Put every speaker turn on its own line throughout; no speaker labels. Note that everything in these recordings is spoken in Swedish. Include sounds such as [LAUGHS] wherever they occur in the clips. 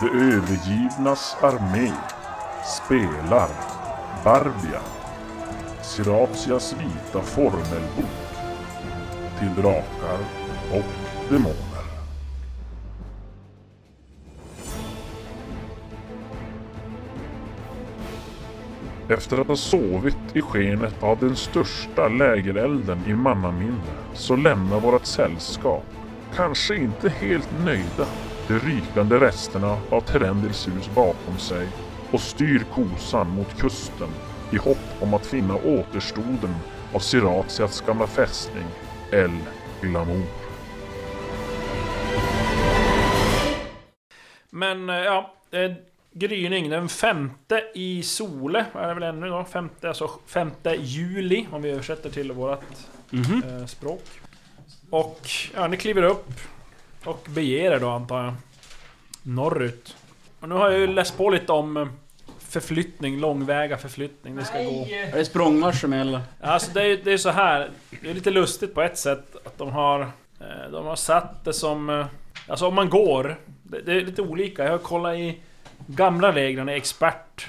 De övergivnas armé spelar Barbia, Siratias vita formelbok till drakar och demoner. Efter att ha sovit i skenet av den största lägerelden i mannaminne så lämnar vårt sällskap, kanske inte helt nöjda, de rykande resterna av Terendils hus bakom sig och styr kosan mot kusten i hopp om att finna återstoden av Siratias gamla fästning El Glamour.
Men eh, ja, eh, gryning den femte i Sole är det väl ännu då? Femte, alltså femte juli om vi översätter till vårat eh, språk. Och ja, ni kliver upp och beger er då antar jag. Norrut. Och nu har jag ju läst på lite om eh, förflyttning, långväga förflyttning. Det ska gå.
Är det språngmarsch som gäller?
Alltså det är ju det är så här. Det är lite lustigt på ett sätt att de har... eh, De har satt det som... eh, Alltså om man går... Det, det är lite olika. Jag har kollat i gamla reglerna i expert.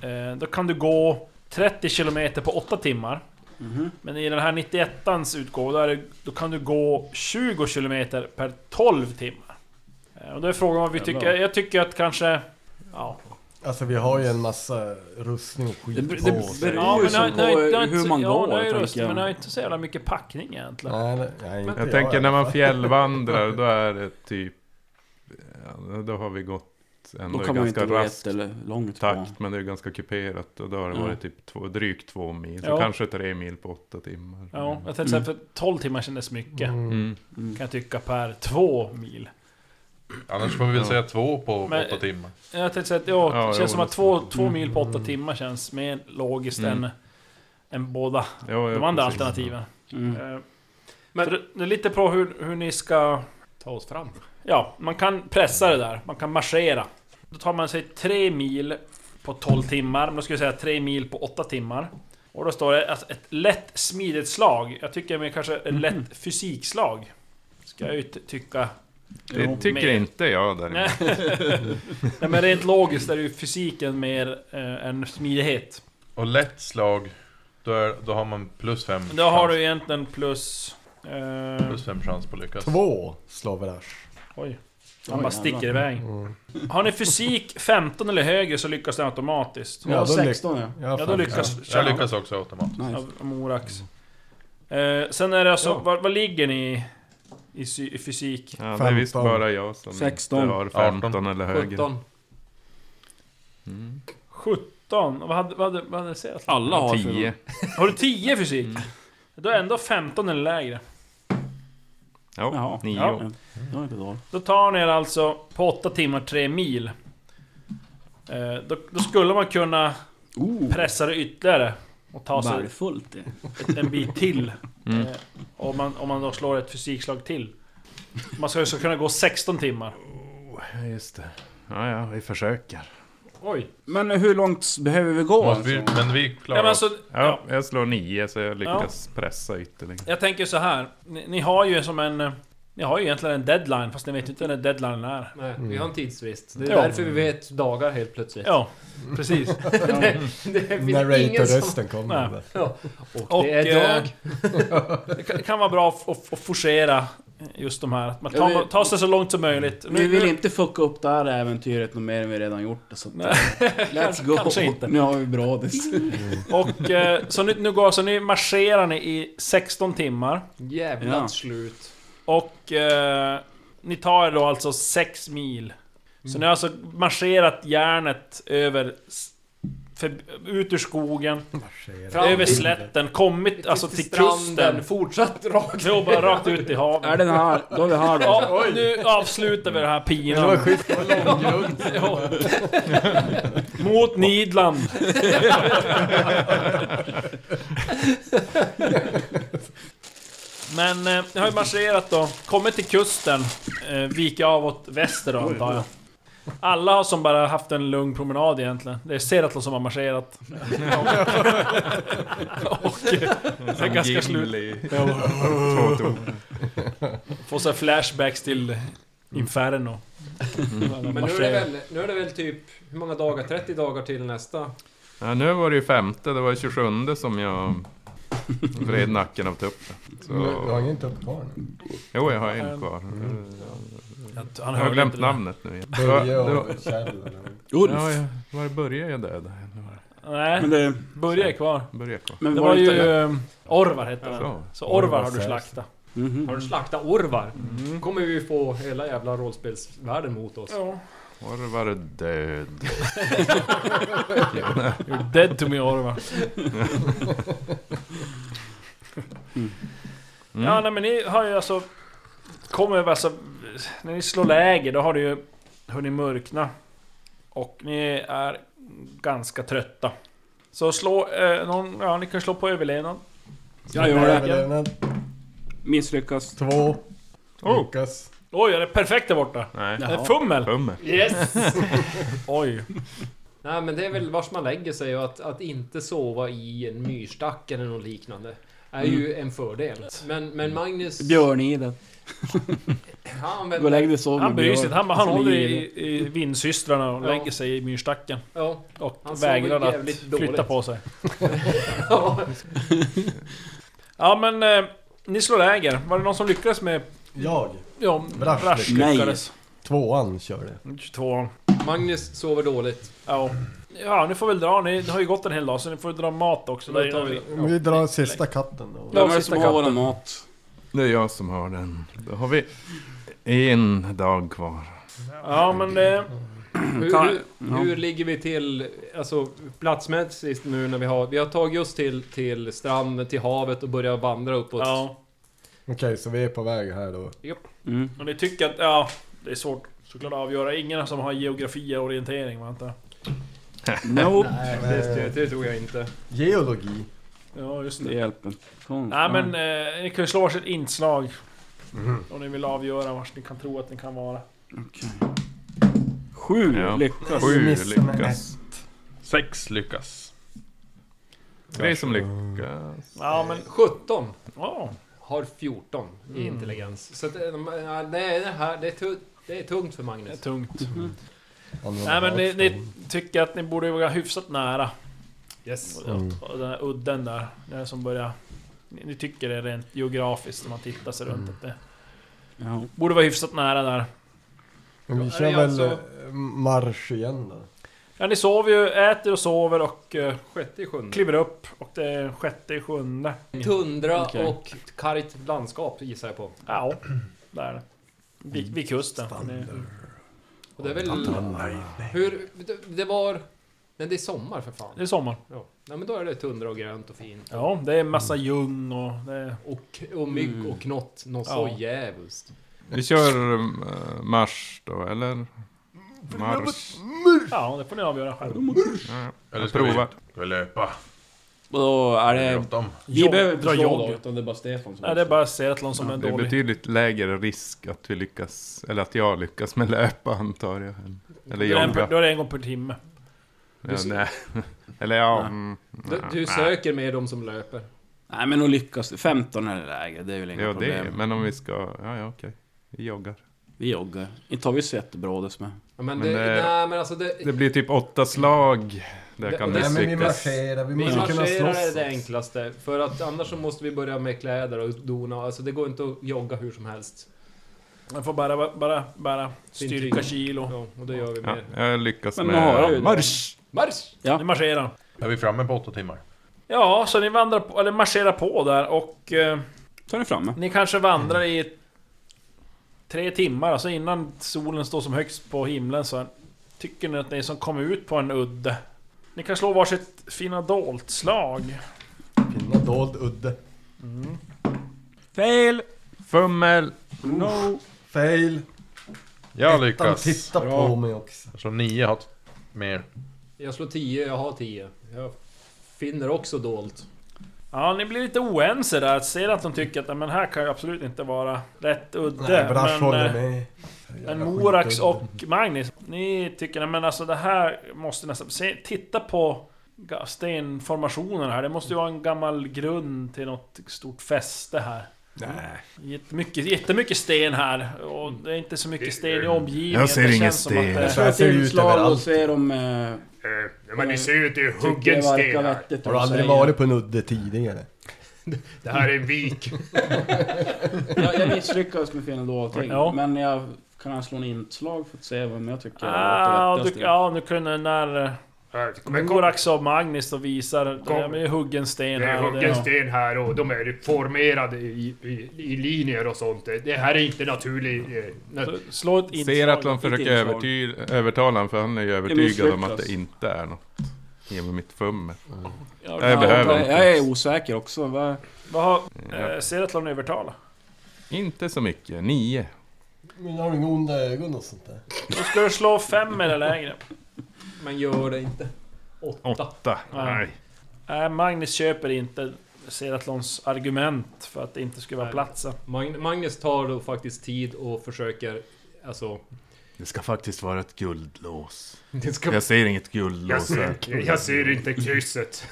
Eh, Då kan du gå 30 km på 8 timmar.
Mhm.
Men i den här 91ans utgåva då, är det- då kan du gå 20 km per 12 timmar. Eh, Och då är frågan vad vi tycker. Jag tycker att kanske... Ja,
Alltså vi har ju en massa rustning och skit
Det ber-
på
det
oss.
beror-
ja
ju så
jag- jag-
på
jag har inte
hur
så-
man
ja,
går,
det är ju
tänker
röst,
jag.
Men jag har inte så jävla mycket packning egentligen.
Nej, nej, nej, inte
Jag tänker
i
när
alla
man
fall.
fjällvandrar då
[LAUGHS]
är det typ... ja, Då har vi gått
Då
ändå i
kan man ju
ganska
inte gå
rask
jättelångt på.
takt. Men det är ganska kuperat. Och då har det
Ja.
varit typ två, drygt två mil. Så
Ja.
kanske tre mil på åtta timmar.
Ja, jag tänkte säga för 12 timmar kändes mycket.
Mm.
Kan jag tycka per två mil.
Annars får vi väl säga två på
Men-
åtta timmar.
Jag tänkte säga att ja,
Ja,
det
jo,
känns som att
det-
två, två mil på åtta timmar känns mer logiskt än, än båda
Ja, ja,
de andra
precis.
alternativen.
Mm.
Eh, Men det, det är lite på hur, hur ni ska...
Ta oss fram.
Ja, man kan pressa det där. Man kan marschera. Då tar man sig tre mil på 12 timmar. Men då skulle jag säga tre mil på åtta timmar. Och då står det att ett lätt smidighetsslag. Jag tycker mer kanske
Mm.
ett lätt fysikslag. Ska jag ju ty- tycka.
Det tycker
Mer.
inte jag däremot.
[LAUGHS] Nej men rent logiskt är det ju fysiken mer eh, än smidighet.
Och lätt slag, då, är, då har man plus fem
Då har
chans,
du egentligen plus... Eh,
plus fem chans på att lyckas.
Två slaverage.
oj.
Oj,
Han bara sticker
jävlar. Mm.
iväg. Har ni fysik 15 eller högre så lyckas den automatiskt.
Ja,
då lyck-
16 ja.
Ja,
Ja, då
fan.
lyckas...
Jag lyckas också automatiskt.
Nice.
Av Morax. Eh, sen är det alltså, var, var ligger ni i, sy- i fysik?
Ja, det är visst
15.
bara jag som
16.
inte har 15 eller högre.
17.
17? Vad hade, vad hade, vad hade Seat?
Alla har
10.
Har du 10 i fysik? Då är ändå 15 eller lägre.
Ja,
Jaha.
9.
Ja.
Det var inte dåligt.
Då tar ni er alltså på 8 timmar 3 mil. Eh, då, då skulle man kunna
Oh,
pressa det ytterligare. Och ta sig
bärfullt det.
ett, en bit till.
Mm.
Eh, om, man, om man då slår ett fysikslag till. Man ska ju så kunna gå 16 timmar.
Ja, just det. Ja, ja, vi försöker.
Oj.
Men hur långt behöver vi gå?
Måste vi,
alltså?
men vi
Nej, men
klarar oss.
alltså, ja.
Ja, jag slår 9 så jag lyckas pressa ytterligare.
Jag tänker så här. Ni, ni har ju som en... eh, Ni har ju egentligen en deadline, fast ni vet ju inte när deadlinen är.
Nej,
Mm.
vi har en tidsfrist. Det är
Ja.
därför vi vet dagar helt plötsligt.
Ja, precis.
[LAUGHS] Det finns ingen som...
Narrator-rösten kommer.
Nej.
Och,
Och,
det är
eh,
dag.
Det kan, det kan vara bra att, att, att forcera just de här. Att man
Ja,
tar,
vi-
tar sig så långt som möjligt.
Vi vill inte fucka upp det här äventyret något mer än vi redan gjort det, så att,
Nej.
Let's
Kanske-
go!
kanske inte.
Nu har vi brådis.
[LAUGHS] Och eh, så nu, nu går så nu marscherar ni i 16 timmar.
Jävla
Ja.
slut.
Och eh, ni tar er då alltså 6 mil. Så ni har alltså marscherat järnet över... s- För, ut ur skogen,
Fram
över
till-
slätten, kommit alltså
[LAUGHS]
till kusten.
fortsatt rakt.
Jo, bara rakt ut i havet.
är den här? Då är vi här då.
Ja, nu avslutar vi den här
Det var
pinan.
skit.
[LAUGHS] Ja. Mot Nidland. Men eh, jag har ju marscherat då, kommit till kusten, eh, vika av åt väster då antar jag. Alla har som bara haft en lugn promenad egentligen. Det är Seratlon som har marscherat. [LAUGHS] och och det är ganska slut. [LAUGHS]
Två ton.
Får så här flashbacks till Inferno.
Mm.
Men nu är, det väl, nu är det väl typ, hur många dagar? 30 dagar till nästa?
Ja, nu var det ju femte, det var ju 27 som jag vred nacken av tuppen. Så...
Du har ingen tupp kvar nu.
Jo, jag har en kvar. Mm.
Jag-
Jag
Han
har
Mm. hörde
glömt
inte det.
namnet nu igen. Det var,
Börje
det var,
och Kjell. eller-
Ulf!
ja, jag- var började jag döda? Nu var
Nej,
Men det...
Börje är kvar.
det- Börje kvar.
Men
Det var ju
inte-
eh, Orvar hette han.
Så.
Så Orvar
Orvar
har du
sägs.
slaktat. Mm.
Mhm.
Har du slaktat Orvar? kommer vi få hela jävla rollspelsvärlden mot oss.
Ja.
Var var det död?
You're dead to me Orvar.
Mm.
Ja, nej men ni har ju alltså... Kommer alltså... När ni slår läger, då har det ju hunnit mörkna. Och ni är ganska trötta. Så slå... Eh, någon, ja, ni kan slå på överlevnad.
Jag gör det.
Överlevnad.
Misslyckas.
Två.
Oh.
Lyckas.
Oj, är det perfekt där borta?
Nej.
Det är fummel!
Hummer.
Yes!
Oj.
Nej men det är väl vars man lägger sig och att, att inte sova i en myrstack eller något liknande. Är ju
Mm.
en fördel. Men,
Mm.
men Magnus...
Björniden.
Han
Gå och lägg
använder...
dig och sov
Han
med
bryr sig
Björn.
inte. Han, bara- han
Flyg
håller
i det.
i, i vindsystrarna och
Ja.
lägger sig i myrstacken.
Ja.
Och
Han sover
vägrar att
jävligt
flytta
dåligt.
på sig.
[LAUGHS] ja.
Ja men... Eh, ni slår läger. Var det någon som lyckades med...
Jag.
Ja,
Brash
Brash
lyckades.
lyckades.
Tvåan körde.
22.
Magnus sover dåligt.
Ja. ja, ni får väl dra. Ni har ju gått en hel dag så ni får dra mat också.
Då tar vi
Men Vi drar sista katten då.
Vem är det
sista
som har
katten.
våran mat?
Det är jag som har den. Då har vi en dag kvar.
Ja men eh, det...
Hur,
Kan-
hur, hur ligger vi till alltså, platsmässigt nu när vi har... Vi har tagit oss till, till stranden, till havet och börjat vandra uppåt.
Ja.
Okej, så vi är på väg här då.
[LAUGHS] Mm.
Och ni tycker att... Ja, det är svårt såklart att avgöra. Ingen som har geografi och orientering va inte?
Nope.
Nej,
Eh.
det, det tror jag inte.
Geologi.
Ja just
Det
det.
hjälper. Kom. Ah,
Nej men eh, ni kan ju slå varsitt inslag. Om ni vill avgöra vars ni kan tro att ni kan vara.
Sju
Ja.
lyckas.
Sju
Missar man
lyckas.
Sex lyckas.
Tre som lyckas.
Ja men...
17
ja.
har 14 i
Mm.
intelligens. Så att, eh, nej, det, här, det, är tu- det är tungt för
det är
Magnus.
tungt.
Andra
Nej men ni, ni
dagen.
tycker att ni borde vara hyfsat nära.
Yes.
Mm.
Och Den här udden där, den som börjar... Ni, ni tycker det är rent geografiskt när man tittar sig runt att det
Ja.
borde vara hyfsat nära där.
Men vi
Ja,
kör
det är
väl
alltså-
eh, marsch igen då.
Ja ni sover ju, äter och sover och eh,
Sjätte i sjunde.
kliver upp och det är sjätte i sjunde.
Tundra
Okej.
och kargt landskap gissar jag på.
Ja, där är det. Vid, vid kusten. Ni-
Och det är väl... Hur... det- Det var... Men det är sommar för fan.
Det är sommar.
Ja. Nej men då är det tundra och grönt och fint.
Ja, det är massa ljung och det är...
Och, och mygg
Mm.
och knott. Något så
Ja.
jävligt.
Vi kör eh, marsch då, eller? Marsch.
Ja, det får ni avgöra själva.
Ja,
Eller
jag
ska vi-
provar.
Ska vi löpa?
Och då är det...
Bråttom.
Vi
Jogg,
behöver inte
dra
slå
jogg.
då, utan det är bara Stefan som...
Nej, det är bara Seatlon som är
Det är
dålig.
betydligt lägre risk att vi lyckas, eller att jag lyckas med löpa antar jag. än- Eller
Då är det en per-
jogga.
Då är det en gång per timme.
Ja, nej. Eller ja... mm,
Du,
nej.
du söker med de som löper.
Nej men då lyckas du. 15 är det läge, det är väl inga
Ja, det,
problem.
men om vi ska... Ja, ja, okej. Vi joggar.
Vi joggar. Inte har vi sett brådes med.
Ja, men,
Men
det,
det-
Nej men alltså det...
Det blir typ åtta slag där jag
Det-
kan
Nej,
Nej men vi
misslyckas.
marscherar, vi
Vi
måste kunna
marscherar är
slåss.
det
också.
enklaste. För att annars så måste vi börja med kläder och dona. Alltså det går inte att jogga hur som helst.
Man får bara, bara, bara
Sin
styrka
tyngd.
kilo.
Ja, och det gör vi
Ja,
med...
jag lyckas
Men nu har jag ju
med...
det.
Marsch!
Marsch!
Ni marscherar.
Är vi framme på åtta timmar?
Ja, så ni vandrar på, eller marscherar på där och eh,
Ta den framme.
ni kanske vandrar i tre timmar, alltså innan solen står som högst på himlen så tycker ni att ni som kom ut på en udde. Ni kan slå varsitt fina dolt slag.
Finna dold udde.
Fail!
Fummel!
No!
Fail.
Jag
Utan
lyckas.
titta
Bra.
på mig också.
Eftersom nio har t- mer.
Jag slår 10, jag har 10. Jag finner också dolt.
Ja, ni blir lite oense där. Ser att de tycker att "Nej, men här kan ju absolut inte vara rätt udde.
Nej, alltså, Brash
men,
håller
eh,
med.
Men
Jävla
Morax
skitudde.
och Magnus, ni tycker nej, men alltså det här måste nästan... Se, titta på ga- stenformationen här, det måste ju vara en gammal grund till något stort fäste här.
Nej.
Jättemycket, jättemycket sten här. Och det är inte så mycket sten i omgivningen.
Jag ser
det
ingen
känns som att
sten.
det-
Så här
Jag
ser
ser
det ut
utslag och
överallt.
ser om... Eh,
men ni ser ju att det är
tycker det
huggen
verkar
sten här.
vettigt
Har du aldrig varit på en udde tidigare?
Det här är en vik.
Jag, jag misslyckades med fel då allting.
Ja.
Men jag kan slå en inslag för att se vem jag tycker
Ah,
är
och
det
du,
vettigaste.
ja, nu kunde när... eh,
Här,
Men
Men
går
kom,
Axel och Magnus och visar...
Kom.
Ja, men det är huggen sten
det är
här. och
huggen
Det,
sten här och de är formerade i, i, i linjer och sånt. Det det här är inte naturlig... eh,
ja.
nat-
Så Slå ett inslag.
Ser att de försöker
inslag.
överty- övertala honom för han är ju övertygad om att det
misslyckas.
inte är något. Ge mig mitt fummel.
Ja,
Nej, jag
ja,
behöver.
vad-
jag, jag är osäker också. Vad-
Vad har...
Ja.
Eh, ser att de övertalar.
Inte så mycket, nio.
Men har du inga onda ögon och sånt där?
Då ska du slå fem eller lägre.
[LAUGHS] Men gör det inte. Åtta.
Åtta. Nej.
Nej, Magnus köper inte Seratlons argument för att det inte skulle vara
Nej.
platsen.
Magn- Magnus tar då faktiskt tid och försöker... Alltså...
Det ska faktiskt vara ett guldlås.
Det ska...
Jag ser inget guldlås
Jag
här.
ser, jag ser inte [LAUGHS] krysset.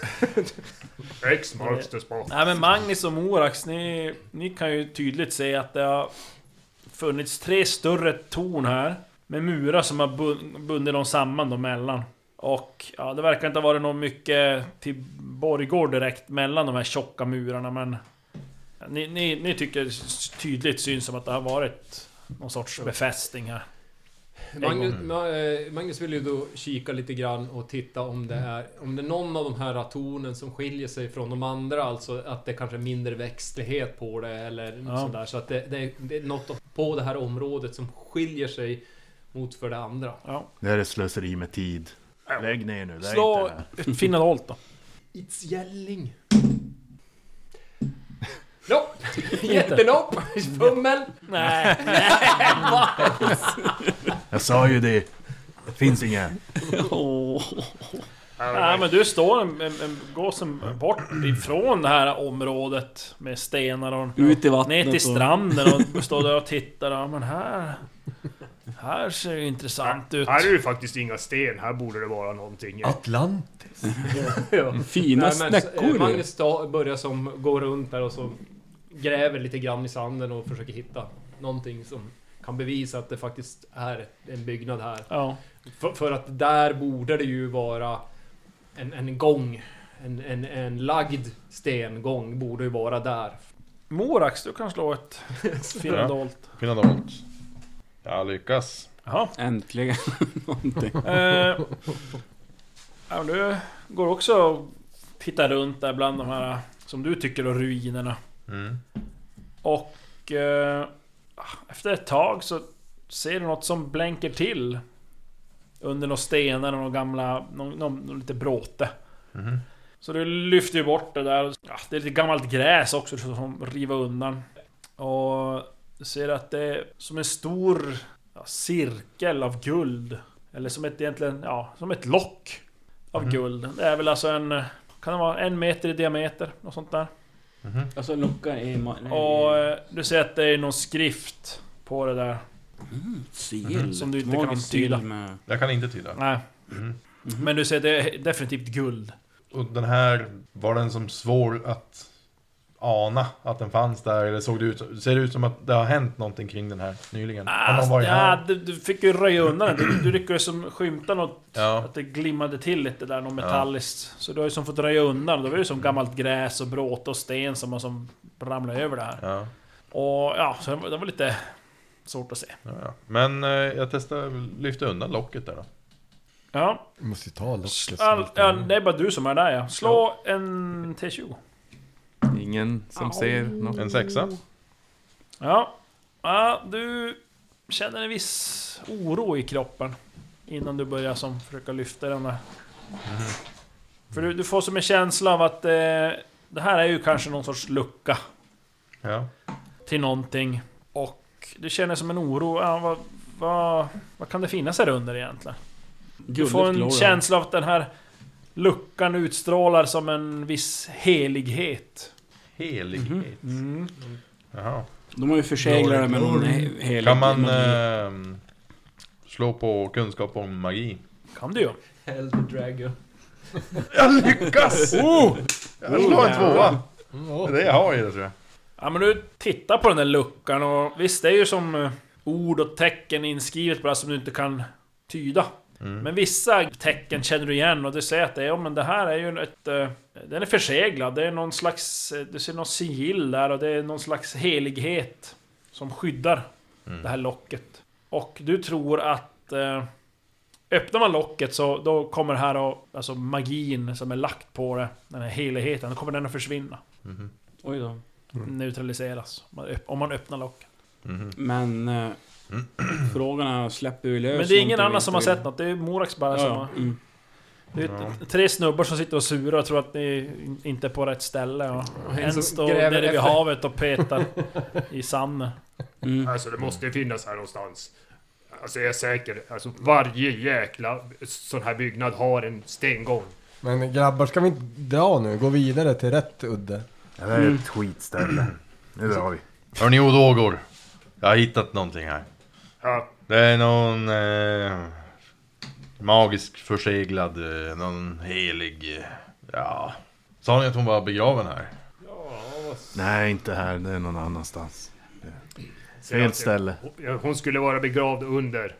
X marks the spot.
Nej men Magnus och Morax, ni, ni kan ju tydligt se att det har funnits tre större torn här. Med murar som har bun- bundit dem samman dem mellan. Och ja, det verkar inte ha varit något mycket till borggård direkt mellan de här tjocka murarna men... Ni, ni, ni tycker s- tydligt syns som att det har varit någon sorts befästning här.
Magnus, Ma- eh, Magnus vill ju då kika lite grann och titta om det är... Om det är någon av de här tornen som skiljer sig från de andra. Alltså att det kanske är mindre växtlighet på det eller något
Ja.
sådär. Så att det, det, är, det är något på det här området som skiljer sig mot för det andra.
Ja.
Det här är slöseri med tid. Lägg ner nu, lägg
Slå
inte det här.
ett finnad hållt då.
It's yelling. [LAUGHS] Nopp! [LAUGHS] Jättenopp! Fummel!
[LAUGHS] Nej.
[LAUGHS] Jag sa ju det. Det finns inga.
Nej men du står en, en, en gåsen bort ifrån det här området med stenar och...
Ut i vattnet
Mm. Ner till
och-
stranden och står där och tittar. Ja, men här... Här ser det ju intressant ut.
Här är ju faktiskt inga sten, här borde det vara någonting.
Atlant?
Fina
Mm. Nej, men, eh,
snäckor!
Magnus da- börjar som går runt där och så gräver lite grann i sanden och försöker hitta någonting som kan bevisa att det faktiskt är en byggnad här.
Ja.
För, för att där borde det ju vara en, en gång. En, en, en lagd stengång borde ju vara där.
Morax, du kan slå ett finadolt.
Fina dolt. Jag lyckas.
Jaha.
Äntligen [LAUGHS] någonting.
Eh, ja, men du går också och tittar runt där bland de här, som du tycker, är ruinerna.
Mm.
Och... Eh, efter ett tag så ser du något som blänker till. Under några stenar och några gamla... Någon, någon, någon lite bråte.
Mhm.
Så du lyfter ju bort det där. Ja, det är lite gammalt gräs också som riva undan. Och du ser att det är som en stor ja, cirkel av guld. Eller som ett egentligen, ja, som ett lock. Av
Mhm.
guld. Det är väl alltså en... Kan det vara en meter i diameter? Något sånt där.
Alltså lucka i... ma-
Mm.
nej,
Och eh, du ser att det är någon skrift på det där.
Sill.
eh, Som du inte
Magisk
kan
sill
tyda.
med-
Jag kan inte tyda.
Nej. Men du ser, det är definitivt guld.
Mhm. Och den här, var den som svår att ana att den fanns där? Eller såg det ut, ser det ut som att det har hänt någonting kring den här nyligen? Har någon varit
Alltså, ja,
här?
du, du fick ju röja undan den. Du, du lyckades som skymta något,
Ja.
att det glimmade till lite där, något metalliskt. Så du har ju som fått röja undan. Det var ju
Mm.
som gammalt gräs och bråte och sten som har som ramlat över det här.
Ja,
Och ja, så det var, det var lite svårt att se.
ja, ja. Men eh, jag testar lyfta undan locket där då.
Ja,
Du måste ju ta locket.
all, ja, det är bara du som är där ja. Slå en T20.
Ingen som ser något.
En sexa.
Ja. ja, du känner en viss oro i kroppen innan du börjar som försöka lyfta den där. För du, du får som en känsla av att eh, det här är ju kanske någon sorts lucka
Ja.
till någonting. Och du känner som en oro, ja, vad, vad, vad kan det finnas här under egentligen? Du
Gulligt
får en
gloria.
känsla av att den här luckan utstrålar som en viss helighet.
Mm-hmm. Helighet. Jaha.
De har ju förseglat det med någon he- helig...
Kan man
magi.
eh, slå på kunskap om magi?
Kan du ju.
Hell the dragon.
Oh!
Jag lyckas! Jag slår en tvåa. Det är det jag har i det tror jag.
Ja men du tittar på den där luckan och visst det är ju som eh, ord och tecken inskrivet på det här som du inte kan tyda. Men vissa tecken känner du igen och du ser att det är, ja, men det här är ju ett... eh, Den är förseglad, det är någon slags... eh, Du ser någon sigill där och det är någon slags helighet som skyddar det här locket. Och du tror att... eh, Öppnar man locket så då kommer det här och... Alltså magin som är lagt på det, den här heligheten, då kommer den att försvinna.
Oj då.
Neutraliseras. om man öpp- Om man öppnar locket.
Mm.
Men... Eh, [CLEARS THROAT] frågan är, släpper vi lös
Men det är ingen
någonting vi
annan som har
inte
sett något, det är Morax bara
vill-
som
Ja,
har...
ja. Mm.
Det är t- tre snubbar som sitter och surar och tror att ni in- inte är på rätt ställe. Och
en som
en står
gräver
nere vid
efter.
havet och petar i sanden.
Mm.
Alltså det måste ju finnas här någonstans. Alltså jag är säker. Alltså varje jäkla sån här byggnad har en stengång.
Men grabbar, ska vi inte dra nu? Gå vidare till rätt udde.
Det här
Mm.
är ett skitställe. Nu drar vi.
Hörni odågor. Jag har hittat någonting här.
Ja,
Det är någon eh, magisk förseglad, eh, någon helig... Eh, ja... Sa ni att hon var begraven här?
Nej, inte här. Det är någon annanstans.
så
Fel
jag-
ställe.
Hon- Hon skulle vara begravd under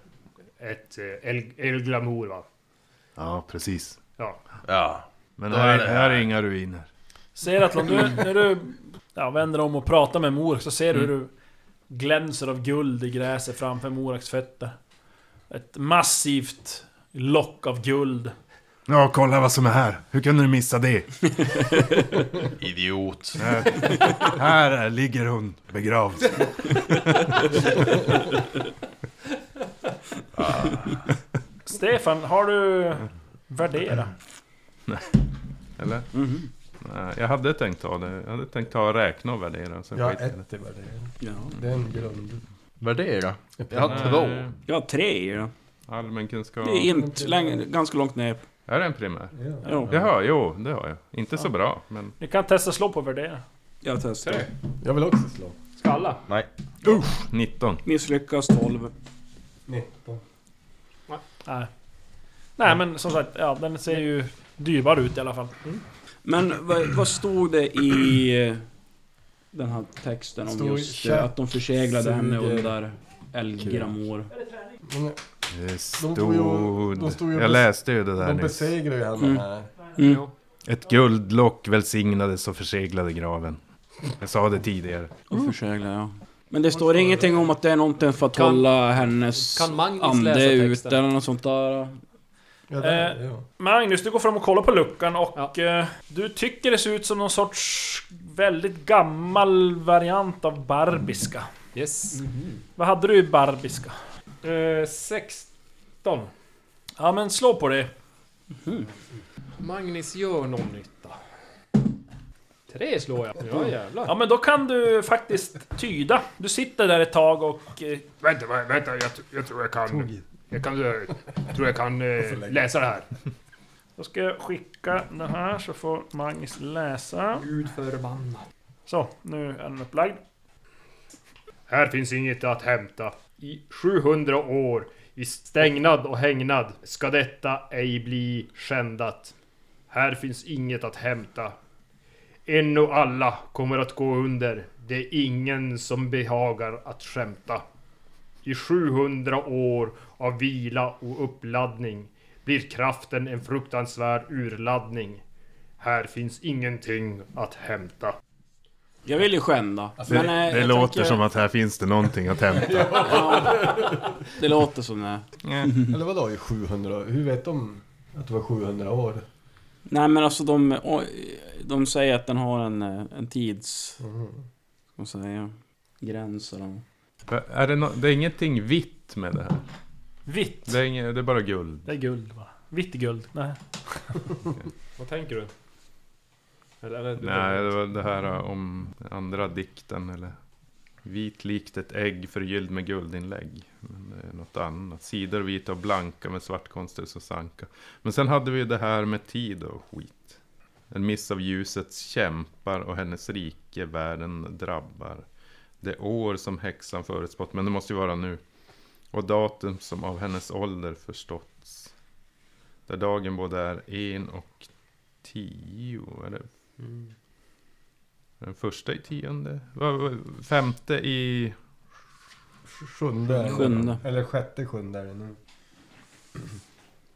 ett eh, El- Elglamour va?
Ja, precis.
Ja.
Ja.
Men
Då
här,
är det
är- här är inga ruiner.
Ser att om du, när du ja, vänder om och pratar med Morax så ser du hur du
Mm.
glänser av guld i gräset framför Morax fötter. Ett massivt lock av guld.
Ja, kolla vad som är här. Hur kunde du missa det?
Idiot.
Här är- ligger hon begravd.
Stefan, har du... Värdera.
Mm.
Eller?
Mm.
Nej, jag hade tänkt ta det. Jag hade tänkt ta och räkna och värdera. Sen
Ja,
skiter jag i
ett är bara det.
Ja.
Det är en grund.
Värdera. Jag
det.
har två.
Nej,
Jag har tre i den.
Eh, Allmänkunskap.
Det är inte längre, ganska långt ner.
Är det en primär?
Jo,
Jaha, jo, det har jag. Inte så bra, men...
Ni kan testa slå på värdera.
jag testar.
Jag vill också slå.
Skalla.
19.
Misslyckas 12.
19.
Nej. Nej men som sagt, ja, den ser ju dyrbar ut i alla fall.
Men vad, vad stod det i eh, den här texten om
Stod
just
kär-
eh, att de förseglade henne
suger-
under Elgramor?
Men
Det
stod ju- de stod ju
stod... Jag
bes-
läste ju det där
de
nyss.
besegrar ju henne
Mm.
här.
Mm.
Ett guldlock välsignades och förseglade graven. Jag sa det tidigare.
Och försegla, ja. Men det står ingenting om att det är någonting för att
Kan-
hålla hennes
Kan Magnus läsa
ande ut
texten?
eller något sånt där.
Ja, där,
Eh.
ja.
Magnus, du går fram och kollar på luckan och eh, du tycker det ser ut som någon sorts väldigt gammal variant av barbiska.
Yes.
Vad hade du i barbiska?
Eh, 16.
Ja men slå på det.
Magnus gör någon nytta. Tre slår jag. Ja jävlar.
Ja men då kan du faktiskt tyda. Du sitter där ett tag och... Eh,
Vänta, vä- vänta. Jag, tr- jag tror jag kan... Jag kan, eh, tror jag kan eh, läsa det här.
då ska jag skicka den här så får Magnus läsa.
Gud förbannat.
Så, nu är den upplagd.
Här finns inget att hämta. I 700 år, i stängnad och hängnad, ska detta ej bli skändat. Här finns inget att hämta. En och alla kommer att gå under. Det är ingen som behagar att skämta. I 700 år av vila och uppladdning blir kraften en fruktansvärd urladdning. Här finns ingenting att hämta.
Jag vill ju skända.
Det,
eh,
Alltså, det
jag
låter
tänker-
som att här finns det någonting att hämta.
Det låter som det.
Eller vadå i 700 år? Hur vet de att det var 700 år?
Nej men alltså de, oj, de säger att den har en, eh, en tids...
Mm.
Vad ska man säga? Gräns eller något.
Är det, nå- det är ingenting vitt med det här.
Vitt.
Det är, inget, det är bara guld.
Det är guld va? Vitt guld? Nej.
Vad tänker du? Eller, eller, du
Nej, det var det här eh, om andra dikten eller... Vit likt ett ägg förgylld med guldinlägg. Men det är något annat. Sidor vita och blanka med svartkonstelse och sanka. Men sen hade vi ju det här med tid och skit. En miss av ljusets kämpar och hennes rike världen drabbar. Det år som häxan förutspått, men det måste ju vara nu. Och datum som av hennes ålder förståtts. Där dagen både är en och tio. Är det Den första i tionde? Vad- vad- Femte i...
Sjunde är det.
Sjunde.
Eller sjätte sjunde är det nu.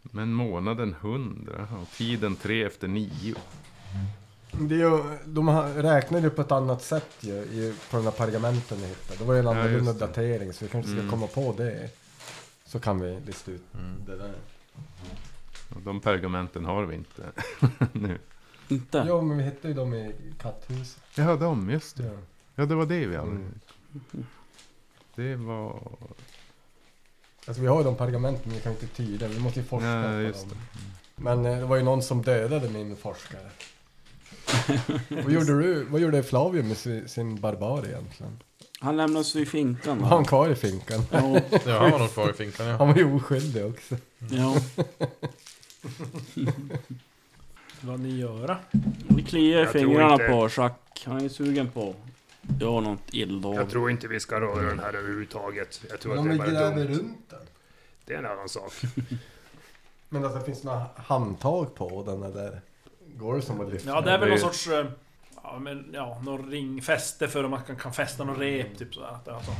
Men månaden hundra och tiden tre efter nio.
Det är ju, de har- räknade ju på ett annat sätt ju, i, på de där pergamenten ni hittade. Det var ju en
Ja, just
annorlunda
det.
datering så vi kanske ska
Mm.
komma på det. Så kan vi lista ut det där.
Och de pergamenten har vi inte nu.
Inte?
Ja men vi hittade ju dem i katthuset.
Ja, de, just det.
Ja.
Ja, det var det vi hade.
Mm.
Det var...
Alltså vi har ju de pergamenten men vi kan inte tyda Vi måste ju forska
Ja,
på
just Mm.
dem. Men eh, det var ju någon som dödade min forskare. vad gjorde du? Vad gjorde Flavium med si- sin barbar egentligen?
Han lämnades i finkan
Var han
va?
kvar i finkan?
Ja,
Ja, han var nog kvar i finkan ja.
Han var ju oskyldig också.
ja.
Vad ni göra?
Det kliar i
Jag tror
fingrarna
inte-
på Jacques. Han är sugen på att göra något
Jag
illdåd.
tror inte vi ska röra den här överhuvudtaget. Jag tror
Men
att
om
det
vi
är bara
gräver
dumt.
runt den?
Det är en annan sak.
Men alltså det finns några handtag på den där. Går det som att lyfta?
Ja, det är väl
det
någon
är-
sorts... eh, Ja, men ja, någon ringfäste för om man kan, kan fästa någon rep typ sådär. Att det alltså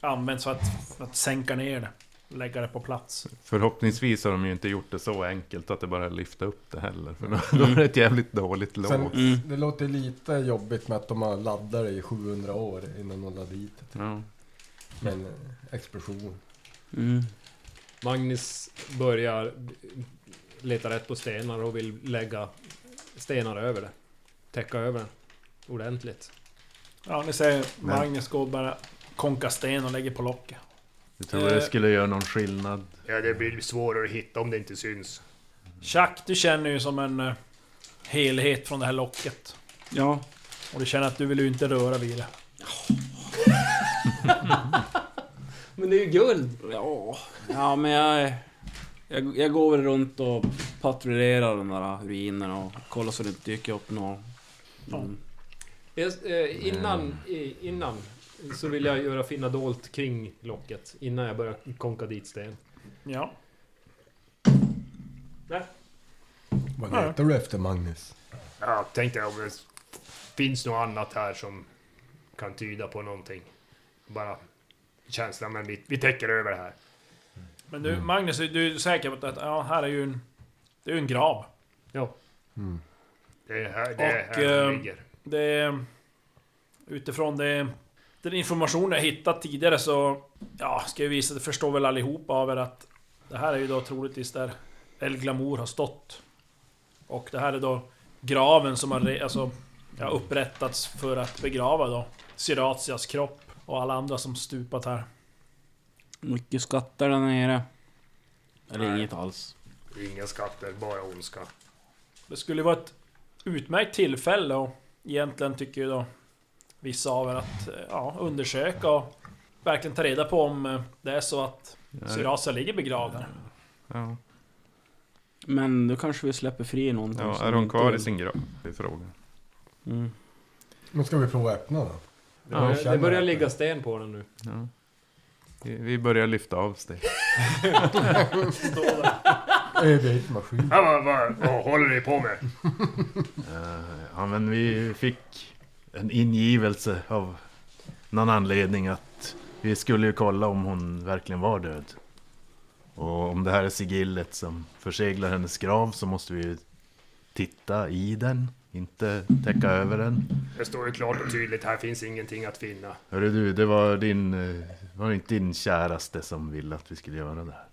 används för att, för att sänka ner det. Lägga det på plats.
Förhoppningsvis har de ju inte gjort det så enkelt att det bara är att lyfta upp det heller. För då då är det ett jävligt dåligt låg.
Sen,
Mm.
Det låter lite jobbigt med att de har laddare i 700 år innan de laddade dit det.
Ja.
Men eh, explosion.
Mm.
Magnus börjar leta rätt på stenar och vill lägga stenar över det. Täcka över den. Ordentligt.
Ja, ni ser Magnus går och bara konka sten och lägger på locket.
Du tror det skulle göra någon skillnad?
Ja, det blir svårare att hitta om det inte syns.
Chuck, du känner ju som en eh, helhet från det här locket.
Ja.
Och du känner att du vill ju inte röra vid det.
Men det är ju guld!
Ja. Ja men jag... Jag, jag går väl runt och patrullerar de där ruinerna och kollar så det inte dyker upp någon. Mm.
Jag- eh, Innan, i- innan så vill jag göra finna dolt kring locket innan jag börjar konka dit sten.
Ja.
Vad
Ja.
letar du efter Magnus?
Ja, tänkte jag om det finns något annat här som kan tyda på någonting. Bara känslan, men vi, vi täcker över det här.
Men
Mm.
du, Magnus, du är säker på att ja, här är ju en... Det är ju en grav.
Det är här det, är
Och,
här det
ehm,
ligger.
Det är, utifrån det, den information jag hittat tidigare så... Ja, ska jag visa, det förstår väl allihopa av er att... Det här är ju då troligtvis där El Glamour har stått. Och det här är då graven som har re, alltså, ja, upprättats för att begrava då Siratias kropp och alla andra som stupat här.
Mycket skatter där nere. Eller inget alls.
Inga skatter, bara ondska.
Det skulle vara ett utmärkt tillfälle och egentligen tycker ju då vissa av er att eh, ja, undersöka och verkligen ta reda på om eh, det är så att Syraza ligger begravd här.
Ja.
Men då kanske vi släpper fri någon.
Ja, är hon kvar i sin grav? Det är frågan.
Mm.
Men ska vi prova att öppna då?
Det börjar,
känner
det börjar
jag.
ligga sten på den nu.
Ja. Vi- Vi börjar lyfta av steg.
Överhetsmaskin.
Ja, vad, vad, vad håller ni på med?
Eh, Ja, men vi fick en ingivelse av någon anledning att vi skulle ju kolla om hon verkligen var död. Och om det här är sigillet som förseglar hennes grav så måste vi ju titta i den, inte täcka över den.
Det står ju klart och tydligt, här finns ingenting att finna.
Hörru du, det var din... eh, Var det inte din käraste som ville att vi skulle göra det här?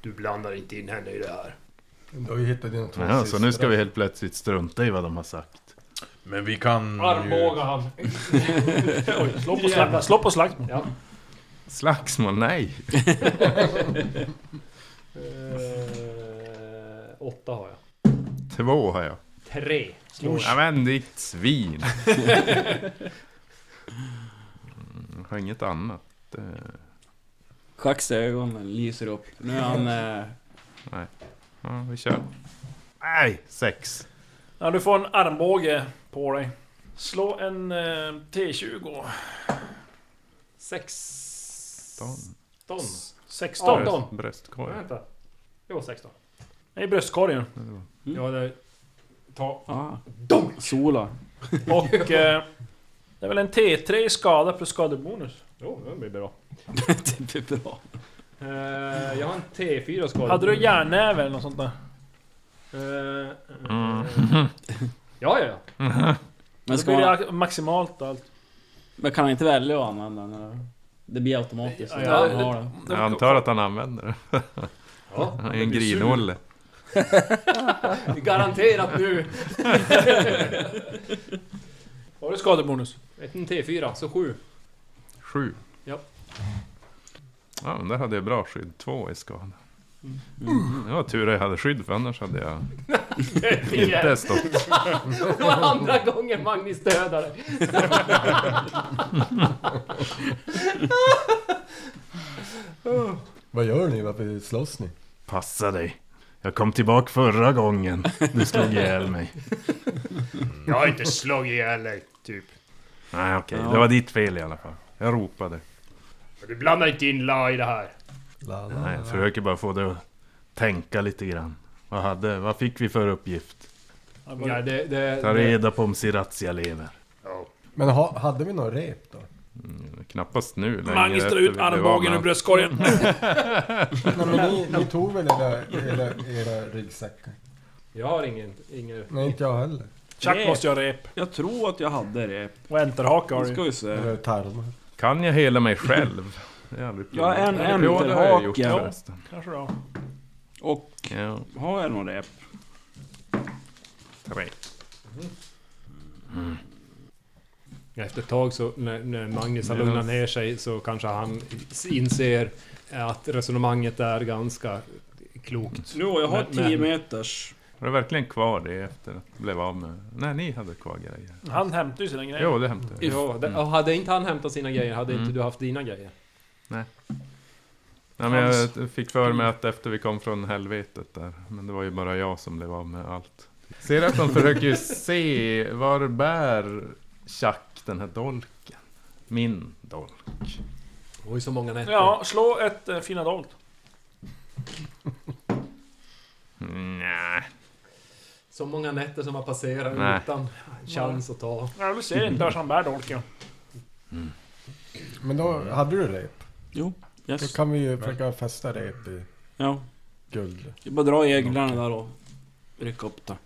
Du blandar inte in henne i det här.
Du har ju hittat dina två
Jaha, så nu ska
systrar.
vi helt plötsligt strunta i vad de har sagt.
Men vi kan ju...
Armbåga han!
Oj, slå på slagsmål. Slå på slagsmål.
Ja.
Slagsmål? Nej!
Eh, åtta har jag.
Två har jag.
Tre. Slår
Ja, men ditt svin! Mm, Jag har inget annat. eh,
Jacques ögon lyser upp. Nu är
[LAUGHS]
han... Eh,
Ja, vi kör. Nej! Sex.
Ja, du får en armbåge på dig. Slå en eh, T20.
Sexton.
Sexton.
Ja. Arton.
Bröst,
Nej,
bröstkorg.
Vänta. Jo, sexton.
Det är bröstkorgen.
Mm. Ja, det... Ta.
ah, solar.
Och eh, Det är väl en T3 i skada plus skadebonus?
Jo, det blir bra.
[LAUGHS] det blir bra.
Eh, jag har en T4 skadad.
Hade du järnnäve eller något sånt där?
Eh,
Mm.
ja, ja, ja.
Men,
Men
ska
ska det
man,
blir det maximalt och allt.
men kan han inte välja att använda den eller? Det blir automatiskt.
Ja,
när
ja,
han
det-
har den.
Jag antar att han använder det. [LAUGHS]
ja.
Han är en grinolle.
Garanterat nu.
Har du skadebonus?
Ett en T4, så sju.
Sju.
Ja.
Ja, men där hade jag bra skydd. Två i skada. Mm. Det var tur att jag hade skydd för annars hade
[LAUGHS]
jag inte stått.
Det var andra gången Magnus dödade.
Vad gör ni? Varför slåss ni?
Passa dig. Jag kom tillbaka förra gången. Du slog ihjäl mig.
Jag har inte slagit ihjäl dig, typ.
Nej okej, det var ditt fel i alla fall. Jag ropade.
Du blandar inte in La i det här.
La, la.
Nej, jag försöker bara få dig att tänka lite grann. Vad, hade, vad fick vi för uppgift?
Ja, det, det,
Ta
det,
reda på om Siratia lever.
Men ha, hade vi någon rep då?
Knappast nu längre
Magnus drar
efter vi
ut
blev av
armbågen
med
ur bröstkorgen.
Nej, men ni, ni tog väl era, era, era ryggsäckar?
jag har ingen... ingen
Nej, inte jag heller.
Chuck
Rep.
måste göra rep.
Jag tror att jag hade det.
Och enterhaka har
Nu
du
ska
ju.
vi se.
Eller tarmar.
allt. Kan jag hela mig själv? Det har jag aldrig
Jag har
provat.
en
Jo, det har jag gjort
enterhake.
förresten.
Kanske då.
Och
Ja,
har jag någon rep?
tre.
Efter ett tag så när, när Magnus har lugnat ner sig så kanske han inser att resonemanget är ganska klokt.
Jo, jag har
Men-
10
men-
meters.
Har du verkligen kvar det efter att jag blev av med... Nej, ni hade kvar grejer.
Han hämtar ju sina grejer.
Jo, det hämtade jag.
Ja, det, hade inte han hämtat sina grejer hade inte du haft dina grejer.
Nej, men jag fick för mig att efter vi kom från helvetet där, men det var ju bara jag som blev av med allt. Ser att de försöker ju se, var bär Chuck den här dolken? Min dolk.
Oj, så många nätter.
Ja, slå ett eh, fina dolt.
Nej.
Så många nätter som har passerat
Nej.
utan chans att ta.
Ja, du ser inte vart han bär dolken.
Men då hade du rep.
Jo.
Då
Yes.
kan vi ju försöka fästa rep i
Ja.
guld.
Jag bara dra i eglarna där och rycka upp det.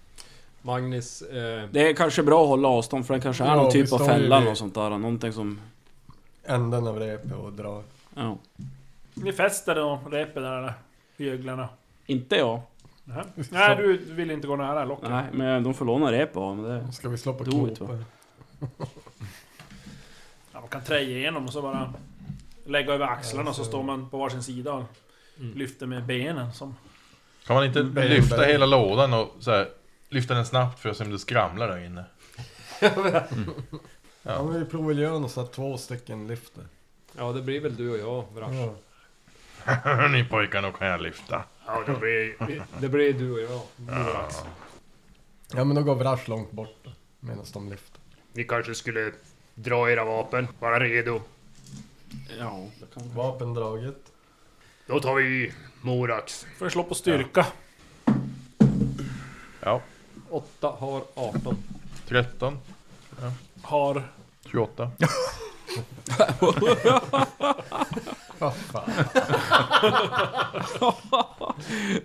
Magnus... Eh,
Det är kanske bra att hålla avstånd för det kanske är
Ja,
någon
vi
typ av
står ju
fälla
vid-
eller något sånt där. Någonting som...
Änden av repet och dra.
Ja.
Ni fäster då repet där eller? Vid öglarna.
Inte jag.
Nähä. Nej, du vill inte gå nära locket.
Nej, men de får låna rep av men [LAUGHS] det...
Ska vi slå på
Do it,
knopar?
Ja, man kan trä igenom och så bara lägga över axlarna och så står man på varsin sida och
Mm.
lyfter med benen som...
Kan man inte
Mm.
lyfta hela lådan och så här, lyfta den snabbt för att se om det skramlar där inne?
Ja, men vi provar väl göra något så att två stycken lyfter.
ja, det blir väl du och jag, Vrash.
[LAUGHS]
Ja.
Ni pojkar, nu kan jag lyfta.
Ja, det blir...
Det blir du och jag.
ja, men då går Vrash långt bort då. Medan de lyfter.
Ni kanske skulle dra era vapen, vara redo.
Ja, det kan...
Vapen draget.
Då tar vi Morax.
Får slå på styrka.
Ja.
8 har 18.
13,
Har...
28.
Vad fan.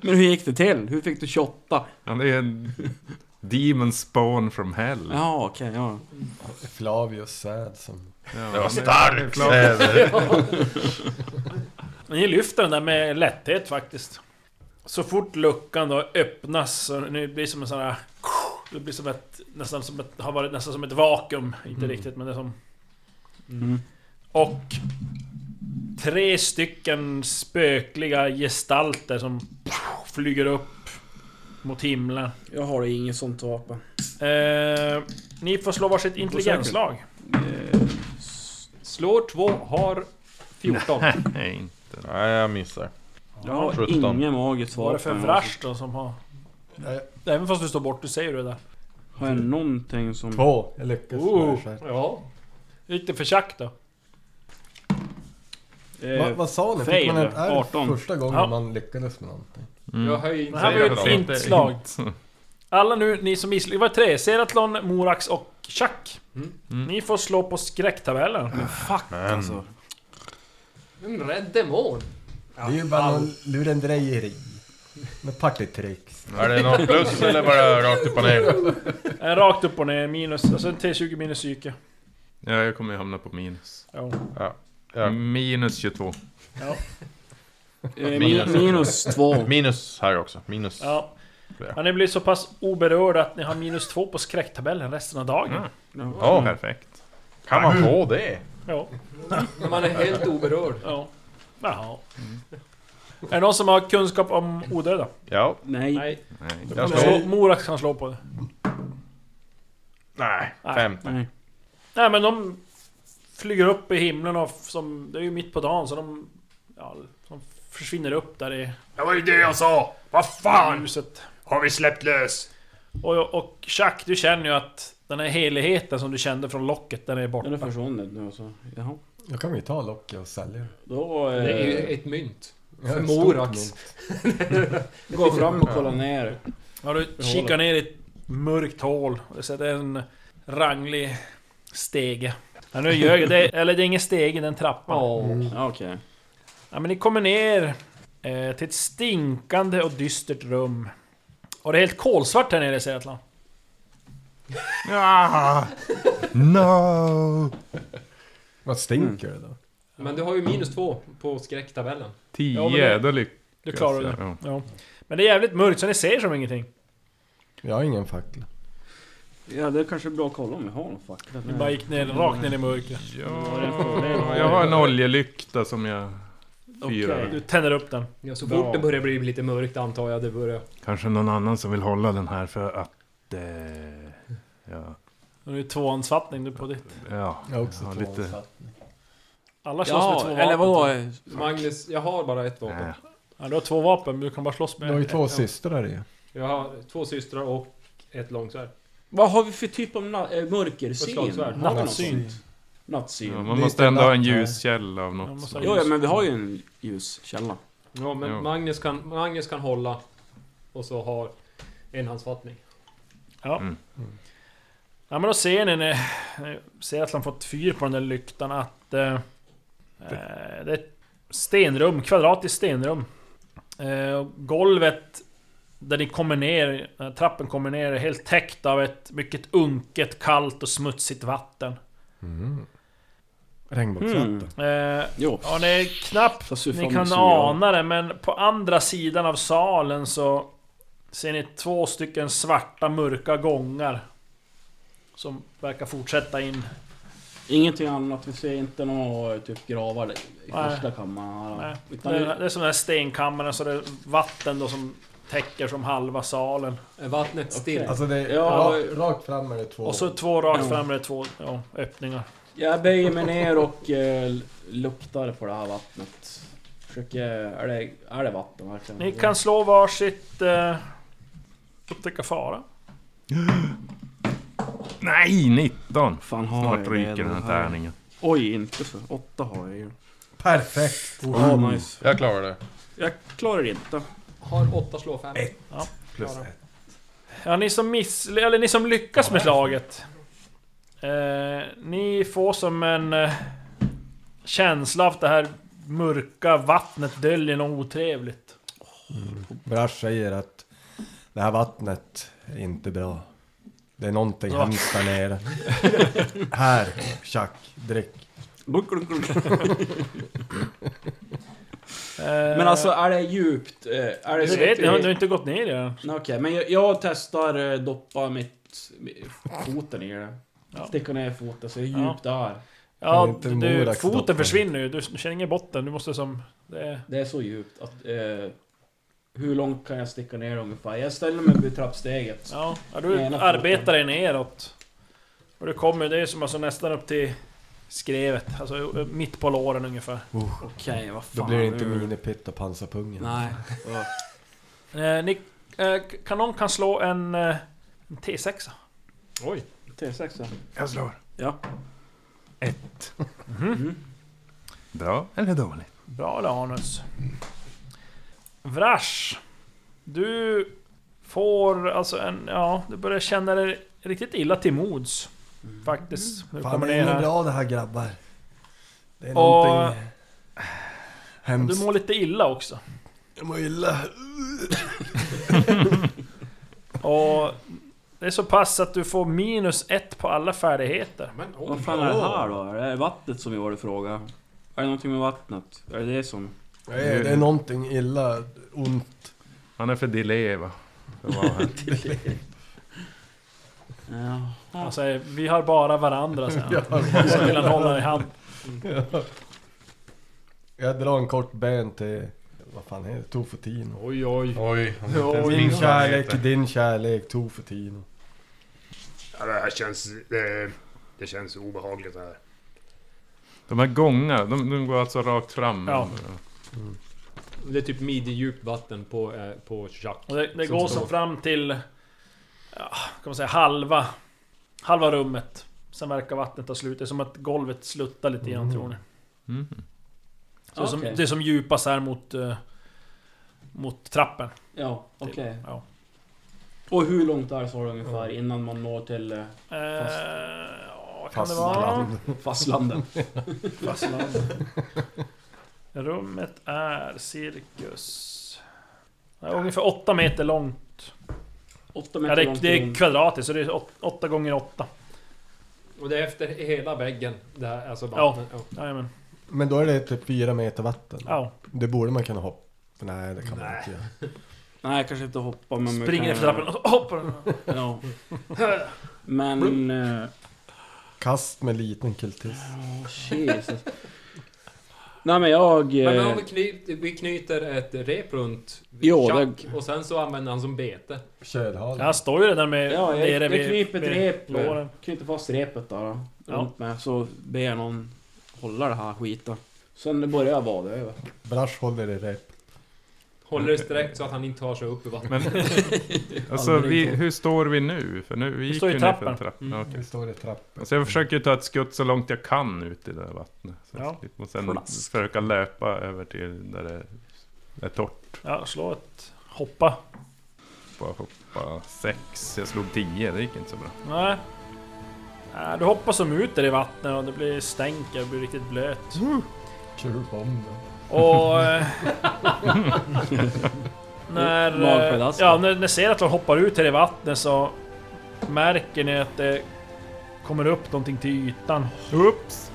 Men hur gick det till? Hur fick du 28?
Han är en demon spawn from hell.
Ja, okej, ja.
Flavius säd som...
Det var starkt! Säder.
Ni lyfter den där med lätthet faktiskt. Så fort luckan då öppnas så nu blir det som en sån här... Det blir som ett... Nästan som ett... Har varit nästan som ett vakuum. Inte riktigt men det är som...
Mm.
Och... Tre stycken spökliga gestalter som flyger upp mot himlen.
Jag har inget sånt vapen.
Eh, ni får slå varsitt intelligensslag.
Slår 2 har 14.
Nej, inte.
Nej, jag missar.
Jag har
17.
inget magiskt
Vad
vapen.
är det för vrash då som har... Även fast du står bort, du säger det där.
Har jag någonting som...
Två. Jag lyckas.
Oh.
Vrash.
Ja.
Hur gick det för Chuck då?
Va,
Eh,
vad sa ni? Fick
fail,
man ett R
18.
första gången
Ja.
man lyckades med någonting?
Jag höjer
Det
inte.
här var ju
Säger
ett
jag
fint
inte.
slag. Alla nu, ni som misslyckades. Det var tre. Seratlon, Morax och Tjack!
Mm.
Ni får slå på skräcktabellen.
Fuck alltså.
En Mm, rädd demon!
Det är ju bara någon lurendrejeri. Något partytricks.
Är det något plus eller bara rakt upp och ner?
Eh, Rakt upp och ner, minus. Alltså en T20 minus psyke.
Ja, jag kommer ju hamna på minus.
Jo.
Ja.
Minus 22.
Eh,
Minus.
min- Minus två.
[LAUGHS] Minus här också. Minus.
Ja. ja. Ni blir så pass oberörda att ni har minus två på skräcktabellen resten av dagen.
Mm.
Ja.
Perfekt.
Kan man få det?
Ja.
När man är helt oberörd.
ja. Jaha. Är det någon som har kunskap om odöda?
Ja.
Nej.
Nej.
Jag
Slå-
slår.
Morax kan slå på det.
Nej.
Nej.
Fem.
Nej.
Nej men de flyger upp i himlen och f- som, det är ju mitt på dagen så de... Ja, de försvinner upp där i
Det var ju det jag sa! Vad fan!
ljuset.
Har vi släppt lös?
Och, och Chuck, du känner ju att den här heligheten som du kände från locket, den är borta.
Den är försvunnit nu alltså. Jaha.
Då kan vi ta locket och sälja det.
Då... Eh,
Det är ju ett mynt.
Jag har ett
Morax.
stort mynt.
Gå fram och kolla ner.
Ja, du kikar ner i ett mörkt hål. Det ser- Det är en ranglig stege. Ja, nu ljög jag. Det är, eller det är ingen stege, det är en trappa.
Ja, Okej.
Ja, men ni kommer ner eh, till ett stinkande och dystert rum. Och det är helt kolsvart här nere, säger Atlan.
No!
Vad stinker det då?
Men du har ju minus två på skräcktabellen.
Ja, men det-
10, då lyckas
Du klarar det.
jag. Ja.
Ja. Men det är jävligt mörkt, så ni ser som ingenting.
Jag har ingen fackla.
Ja, det är kanske är bra att kolla om vi har någon fackla.
Ni bara gick ner, rakt ner i mörkret.
Ja, jag har en oljelykta som jag fyrar.
Du tänder upp den.
Ja, så fort det börjar bli lite mörkt antar jag det börjar...
Kanske någon annan som vill hålla den här för att... Eh, ja,
Och det är tvåhandsfattning du på ditt.
ja,
Jag har också
ja,
två
lite...
satt.
Alla slåss med
Ja,
två
eller
vapen. typ?
vadå?
Magnus, jag har bara ett vapen.
Nej.
Ja, du har två vapen, men du kan bara slåss
Du
med...
har ju två
Ja.
systrar i.
Jag har två systrar och ett långsvärd.
Vad har vi för typ av na- äh, mörkersyn?
Förslagsvärd.
Har vi någon sån?
Nattsynt.
Nattsyn.
Ja,
Ja,
man
Lite
måste ändå ha en
natt här.
ljuskälla av
Man
något
måste
slag.
jo, ja, men vi har ju en ljuskälla.
Ja, men
Ja.
Magnus, kan, Magnus kan hålla och så har enhandsfattning.
Ja.
Mm.
Ja men då ser ni när ni ser att han fått fyr på den där lyktan att... Eh, eh, det är ett stenrum, kvadratiskt stenrum. Eh, och golvet där ni kommer ner, eh, trappen kommer ner, är helt täckt av ett mycket unket, kallt och smutsigt vatten.
Regnbågsvatten.
Mm.
Eh,
Jo.
Ja, det är knappt
Fast hur fan
ni kan
suger jag?
ana det, men på andra sidan av salen så ser ni två stycken svarta, mörka gångar. Som verkar fortsätta in.
Ingenting annat. Vi ser inte några typ gravar i
Nej.
första kammaren.
Nej,
här.
Det
Utan
är
det,
det är som den här stenkammaren, så det är vatten då som täcker som halva salen.
Är vattnet still?
Alltså det är
Ja.
ra- rakt fram är det två.
Och så två rakt
Ja.
fram, det är två ja, öppningar.
jag böjer mig ner och eh, luktar på det här vattnet. Försöker... Är det, är det vatten verkligen?
Ni kan slå varsitt... Eh, upptäcka fara.
Nej, 19!
Fan har
Snart
jag det
ryker den här
här?
tärningen.
Oj, inte så. Åtta har jag ju.
Perfekt!
Ja, nice.
Jag klarar det.
Jag klarar det inte.
Har åtta slå fem.
Ja, ni som miss... Eller ni som lyckas med slaget. Eh, ni får som en... Eh, känsla av att det här mörka vattnet döljer något otrevligt.
Mm. Brash säger att det här vattnet är inte bra. Det är någonting
Ja.
hemskt där nere. här, tjack, drick.
Blunk, blunk, blunk.
Eh,
Men alltså är det djupt? eh, Är det
Du
så
vet,
att
ni har, ni har
vi...
inte gått ner i det.
Nej, Okej, men jag, jag testar eh, doppa mitt... mi- foten i det.
Ja.
Sticka ner foten så
Ja.
djupt där.
Kan
Ja,
inte
du,
Morax
foten
stoppa?
försvinner ju. Du känner ingen botten. Du måste som... Det är,
Det är så djupt att... Eh, hur långt kan jag sticka ner ungefär? Jag ställer mig vid trappsteget.
ja, ja,
Med
du
ena
arbetar dig neråt. Och du kommer... Det är som alltså nästan upp till skrevet. Alltså mitt på låren ungefär.
Okej, vad fan.
Då blir det inte
nu-
minipitt och pansarpungen.
Nej.
Eh, ni, eh, kan någon kan slå en, eh, en T6?
T6 ja.
Jag slår.
Ja.
Ett.
Mhm.
Bra eller dåligt?
Bra Lanus. Vrash. Du får alltså en... Ja, du börjar känna dig riktigt illa till mods. Faktiskt. Nu
Fan,
kommer
det
ner
är inget
här.
bra det här grabbar. Det är
Och-
någonting
Du
hemskt.
mår lite illa också.
Jag mår illa.
Och det är så pass att du får minus ett på alla färdigheter.
Men oj.
Vad fan är det här då? Är det vattnet som vi var och frågade? Är det någonting med vattnet? Är det det som...
Nej, det är någonting illa, ont.
Han är för delay va? För att vara här.
Ja.
Han säger Alltså, vi har bara varandra sen. Så vill han hålla i hand.
Jag drar en kort ben till, vad fan heter det? Tofutino.
Oj, oj.
Oj, om det inte ens
Min
minns vad han
kärlek
heter.
till din kärlek, Tofutino.
Ja, det här känns... Det, det känns obehagligt det här.
De här gångarna, de, de går alltså rakt fram?
Ja.
Det är typ midjedjupt vatten på, eh, på Jack.
Och det, det
Som
går
står-
som fram till... Ja, kan man säga halva... Halva rummet. Sen verkar vattnet ta slut. Det är som att golvet sluttar lite grann tror ni.
Mm.
Så det, är som,
Okej.
det är som djupast här mot... eh, Mot trappen.
Ja, okej.
Ja.
Och hur långt är det så ungefär innan man når till eh,
Eh, ja, vad kan det vara?
Fastland.
fastlandet? [LAUGHS]
Rummet är cirkus... Det är ungefär 8 meter långt.
Åtta
Ja,
meter
det, är,
långt
det är
runt.
kvadratiskt, så det är 8 gånger 8.
Och det är efter hela väggen. Det här, alltså
Ja.
vattnet. Ja.
Jajamän.
Men då är det typ fyra meter vatten.
Ja.
Det borde man kunna hoppa. Nej, det kan man
Nej.
inte göra.
Nej, kanske inte hoppa men... man
Springer
kan-
efter trappen och så hoppar den.
Ja. Men... eh,
Kast med liten kultist.
åh, Jesus. Nej men jag... eh,
Men om vi, kny, vi knyter ett rep runt
Jo,
Jack och sen så använder han som bete.
Kölhalen.
Han står ju redan med...
Ja, jag,
nere
jag
vid-
kniper ett
vid
rep.
låren.
Knyter fast repet där då,
Ja.
runt med. Så ber jag någon hålla det här skiten. Sen börjar jag vada över.
Brash håller i rep.
Håller det sträckt så att han inte tar sig upp i vattnet.
Men, alltså, vi, hur står vi nu? För nu, vi gick
står i
ju ner för
trappen.
en trappa.
Mm.
Okej.
Vi står i trappen.
Mm.
Alltså, jag försöker ju ta ett skutt så långt jag kan ut i det där vattnet. Så
Ja.
Och sen
Flask.
försöka löpa över till där det är torrt.
Ja, slå ett... Hoppa.
Bara hoppa sex. Jag slog tio, det gick inte så bra.
Nej. Nej, Du hoppar som ut där i vattnet och det blir stänker och blir riktigt blöt.
Kul bomb då.
Och... eh,
[LAUGHS]
när... eh,
Magpelast.
Ja, när, när Seratlon hoppar ut här i vattnet så märker ni att det kommer upp någonting till ytan.
Oops!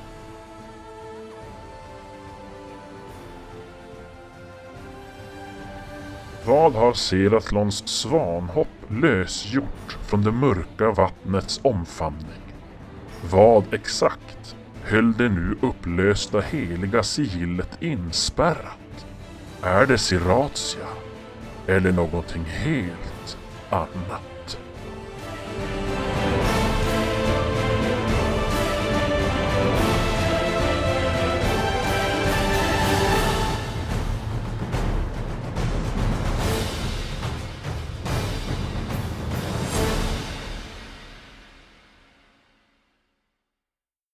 Vad har Seratlons svanhopp lösgjort från det mörka vattnets omfamning? Vad exakt höll det nu upplösta heliga sigillet inspärrat? Är det Siratia? Eller någonting helt annat?